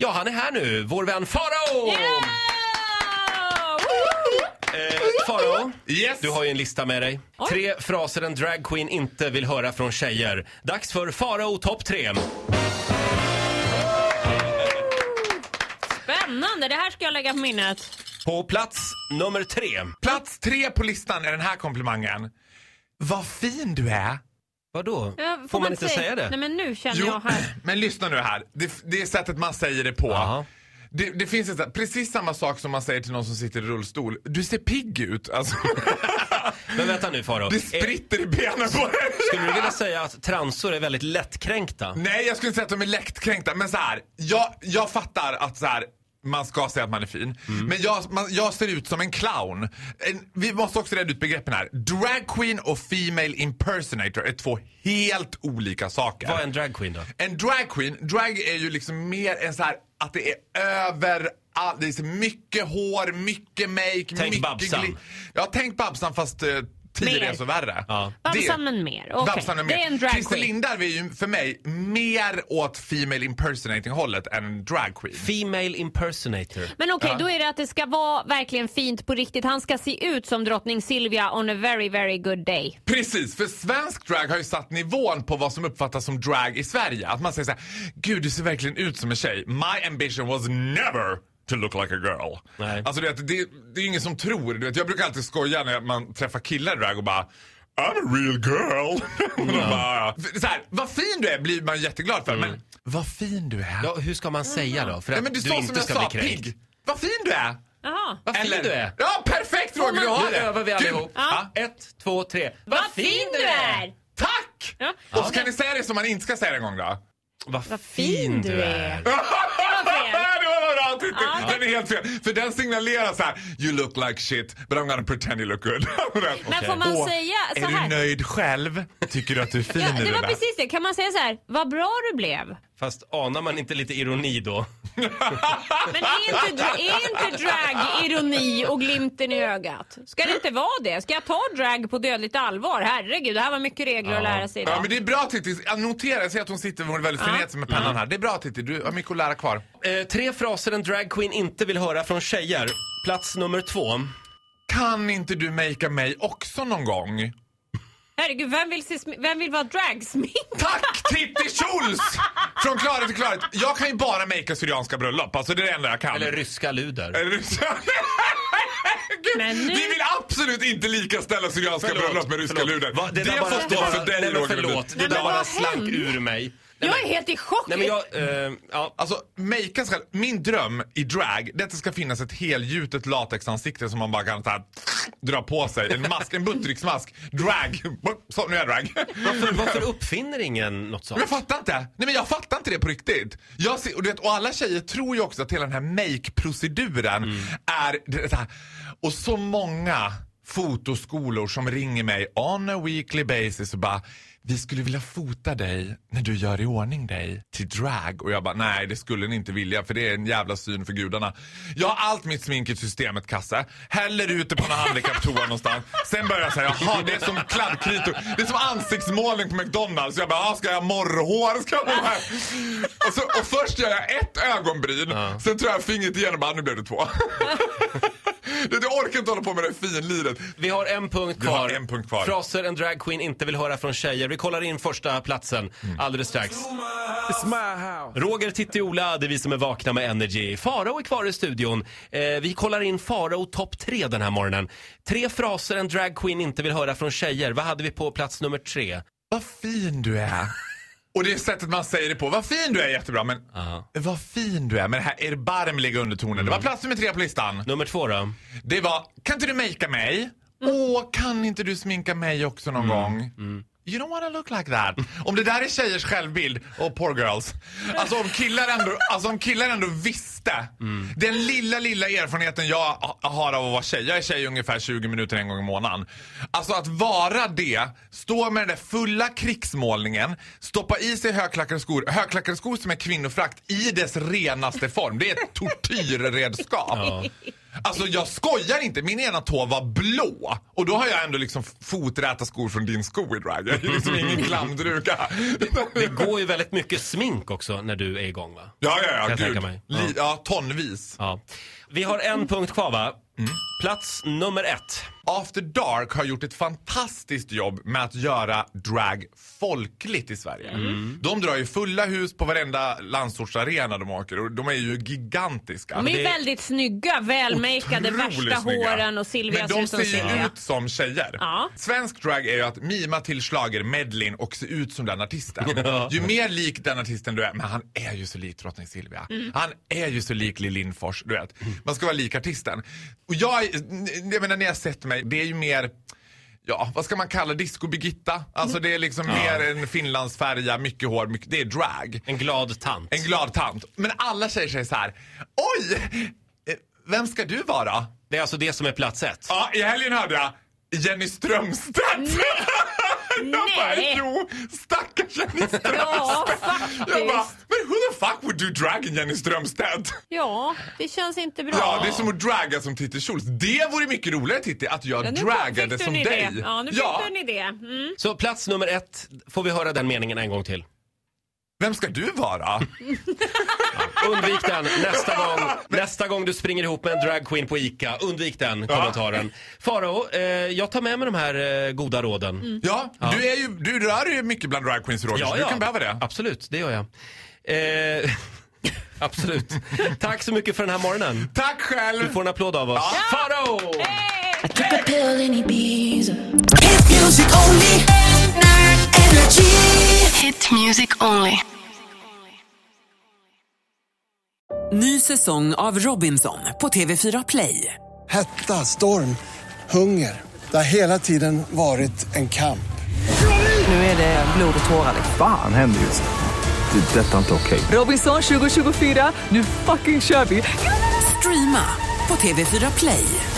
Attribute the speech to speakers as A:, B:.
A: Ja, han är här nu, vår vän Farao! Eh, Farao,
B: Yes!
A: du har ju en lista med dig. Tre fraser en dragqueen inte vill höra från tjejer. Dags för Farao topp tre.
C: Spännande, det här ska jag lägga på minnet.
A: På plats nummer tre.
B: Plats tre på listan är den här komplimangen. Vad fin du är.
A: Vadå?
C: Ja,
A: Får, man inte säga det?
C: Nej men nu känner jag här.
B: men lyssna nu här. Det, det är sättet man säger det på.
A: Jaha.
B: Det, det finns ett, sätt- precis samma sak som man säger till någon som sitter i rullstol. Du ser pigg ut. Alltså,
A: Men vänta nu Farao.
B: det
A: Eh,
B: spritter i benen på dig.
A: Skulle du vilja säga att transor är väldigt lättkränkta?
B: Nej, jag skulle inte säga att de är lättkränkta. Men så här, jag, jag fattar att så här, man ska säga att man är fin.
A: Mm.
B: Men jag, man, jag ser ut som en clown. En, vi måste också reda ut begreppen här. Drag queen och female impersonator är två helt olika saker.
A: Vad är en dragqueen då?
B: En drag queen, drag är ju liksom mer en så här att det är över all, det är så mycket hår, mycket make, mycket
A: Babsan.
B: gli- Ja, tänk Babsan fast eh, tio
C: Mer.
B: resor värre.
A: Ja.
C: Babsan men mer. Okej.
B: Babsan är mer.
C: Det är en drag
B: Christer
C: queen.
B: Lindarw är ju för mig mer åt female impersonating hållet än drag queen.
A: Female impersonator.
C: Men okej, då är det att det ska vara verkligen fint på riktigt. Han ska se ut som drottning Silvia on a very, very good day.
B: Precis, för svensk drag har ju satt nivån på vad som uppfattas som drag i Sverige. Att man säger så här, gud du ser verkligen ut som en tjej. My ambition was never to look like a girl.
A: Nej.
B: Alltså du vet, det, det är ingen som tror. Du vet, jag brukar alltid skoja när man träffar killar i drag och bara I'm a real girl. och de bara, så här, vad fin du är blir man jätteglad för. Men vad fin du är.
A: Mm. Ja, hur ska man säga då? För att
B: Nej, men du,
A: du
B: sa som
A: inte
B: jag
A: ska
B: sa,
A: bli kränkt.
B: pigg. Vad fin du är.
C: Jaha.
A: Vad fin
B: Eller-
A: du är.
B: Ja, perfekt Roger, du har
A: Nu
B: det.
A: övar vi
B: Gud.
A: allihop.
C: Ja.
A: Ett, två, tre.
C: Vad fin du är!
B: Tack!
C: Ja.
B: Och så kan ni säga det som man inte ska säga det en gång då.
A: Vad fin du är.
C: fel.
B: det var bra Titti!
C: Ja.
B: Den är helt fel. För den signalerar så här: You look like shit but I'm gonna pretend you look good.
C: Men får man säga så
B: Är
C: här?
B: du nöjd själv? Tycker du att du är fin
C: Ja,
B: i
C: det var
B: där?
C: precis det. Kan man säga så här, vad bra du blev?
A: Fast anar man inte lite ironi då?
C: Men är inte, dra- är inte drag ironi och glimten i ögat? Ska det inte vara det? Ska jag ta drag på dödligt allvar? Herregud, det här var mycket regler att lära sig
B: Ja
C: idag.
B: men det är bra Titti, jag noterar, jag ser att hon sitter hon är väldigt frenetisk med pennan här. Det är bra Titti, du har mycket att lära kvar.
A: Eh, tre fraser en dragqueen inte vill höra från tjejer. Plats nummer två.
B: Kan inte du makea mig också någon gång?
C: Herregud, vem vill, se, smi- vem vill vara dragsmink?
B: Tack Titti Schultz! Från klarhet till klarhet. Jag kan ju bara makea syrianska bröllop, alltså det är det enda jag kan.
A: Eller ryska luder.
B: Eller ryska. Gud,
C: Men nu-
B: Vi vill absolut inte likaställa syrianska
A: Förlåt,
B: bröllop med ryska
A: förlåt.
B: luder.
A: Va,
B: det
A: där bara-
B: får
A: det
B: stå
A: bara-
B: för dig
A: nej, men
B: Roger Lundin.
A: Förlåt, det
C: men
A: där
C: vad
A: bara slank
C: hände?
A: ur mig. Nej,
C: Jag är
A: men-
C: helt i chock.
A: Nej men jag, eh, ja.
B: Alltså, makea ska, min dröm i drag det är att det ska finnas ett helgjutet latexansikte som man bara kan så här, dra på sig. En mask, en buttricksmask. Drag. Så, nu är jag drag.
A: Varför, varför uppfinner ingen något
B: Men
A: sånt?
B: jag fattar inte. Nej men jag fattar inte det på riktigt. Jag ser, och, du vet, och alla tjejer tror ju också att hela den här make-proceduren är... Det, det här. Och så många fotoskolor som ringer mig on a weekly basis och bara vi skulle vilja fota dig när du gör i ordning dig till drag. Och jag bara, nej det skulle ni inte vilja för det är en jävla syn för gudarna. Jag har allt mitt smink i systemet kasse, häller ut det på någon handikapptoa någonstans. Sen börjar jag säga, jaha det är som kladdkritor. Det är som ansiktsmålning på McDonalds. Jag bara, "Ah, ska jag ha morrhår? Ska jag ha de här? och, så, och först gör jag ett ögonbryn, sen tror jag fingret igen och bara, nu blev det två. Du du orkar inte hålla på med det finliret.
A: Vi har en punkt
B: Vi
A: kvar.
B: har en punkt kvar.
A: Fraser en dragqueen inte vill höra från tjejer. Vi kollar in första platsen
B: Mm.
A: alldeles strax. Roger, Titti, Ola, det är vi som är vakna med Energy. Farao är kvar i studion. Eh, vi kollar in Farao topp tre den här morgonen. Tre fraser en dragqueen inte vill höra från tjejer. Vad hade vi på plats nummer tre?
B: Vad fin du är. Och det är sättet man säger det på. Vad fin du är jättebra men vad fin du är med den här erbarmliga undertonen. Det var plats nummer tre på listan.
A: Nummer två då?
B: Det var kan inte du makea mig? Åh, kan inte du sminka mig också någon gång? You don't wanna look like that. Om det där är tjejers självbild, oh poor girls. Alltså om killar ändå, alltså om killar ändå visste. Den lilla, lilla erfarenheten jag ha- har av att vara tjej. Jag är tjej ungefär 20 minuter en gång i månaden. Alltså att vara det, stå med den där fulla krigsmålningen, stoppa i sig högklackade skor. Högklackade skor som är kvinnofrakt i dess renaste form. Det är ett tortyrredskap. Alltså jag skojar inte, min ena tå var blå. Och då har jag ändå liksom foträta skor från din sko i drag. Jag är liksom ingen klamdruka.
A: Det går ju väldigt mycket smink också när du är igång va?
B: Ja, ja, ja,
A: jag tänka
B: gud.
A: mig.
B: Li- ja, tonvis.
A: Ja. Vi har en punkt kvar va?
B: Mm.
A: Plats nummer ett.
B: After Dark har gjort ett fantastiskt jobb med att göra drag folkligt i Sverige.
A: Mm.
B: De drar ju fulla hus på varenda landsortsarena de åker och de är ju gigantiska.
C: De är ju
A: det-
C: väldigt snygga, välmakeade,
B: Otroligt
C: värsta
B: snygga.
C: håren och Silvia
B: Men
C: ser
B: de
C: ut som
B: ser ju
C: Silvia.
B: ut som tjejer.
C: Ja.
B: Svensk drag är ju att mima till slager medlin och se ut som den artisten.
A: Ja.
B: Ju mer lik den artisten du är, men han är ju så lik drottning Silvia. Han är ju så lik Lill Lindfors, du vet. Man ska vara lik artisten. Och jag, är- jag menar, ni har sett mig, det är ju mer Ja, vad ska man kalla disco Birgitta? Alltså det är liksom mer en finlandsfärja, mycket hår, mycket, det är drag.
A: En glad tant.
B: En glad tant. Men alla tjejer säger så här, oj! eh, Vem ska du vara?
A: Det är alltså det som är plats ett.
B: Ja, i helgen hörde jag Jenny Strömstedt. jag bara,
C: Nej.
B: jo, stackars Jenny Strömstedt.
C: Ja,
B: jag bara,
C: faktiskt.
B: men who the fuck would do drag in Jenny Strömstedt?
C: Ja, det känns inte bra.
B: Ja, det är som att draga som Titti Schultz. Det vore mycket roligare Titti, att jag
C: Ja, nu fick du
B: dragade
C: en
B: som
C: idé.
B: dig.
C: Ja, nu fick du en idé. Mm.
A: Så plats nummer ett, får vi höra den meningen en gång till.
B: Vem ska du vara?
A: Undvik den nästa gång, nästa gång du springer ihop med en dragqueen på ICA. Undvik den kommentaren. Farao, eh, jag tar med mig de här eh, goda råden.
B: Ja,
C: Mm.
B: Du, är ju, du rör dig ju mycket bland dragqueens Roger, så du kan behöva det.
A: Absolut, det gör jag. Eh, absolut. Tack så mycket för den här morgonen.
B: Tack själv!
A: Du får en applåd av oss. Farao!
D: Took a pill in Ibiza. Hit music only. Energy.
E: Hit music only.
F: Ny säsong av Robinson på TV4 Play.
G: Hetta, storm, hunger. Det har hela tiden varit en kamp.
F: Nu är det blod och tårar.
H: fan händer just nu? Det. är Detta är inte okej.
F: Robinson 2024, nu fucking kör vi! Streama på TV4 Play.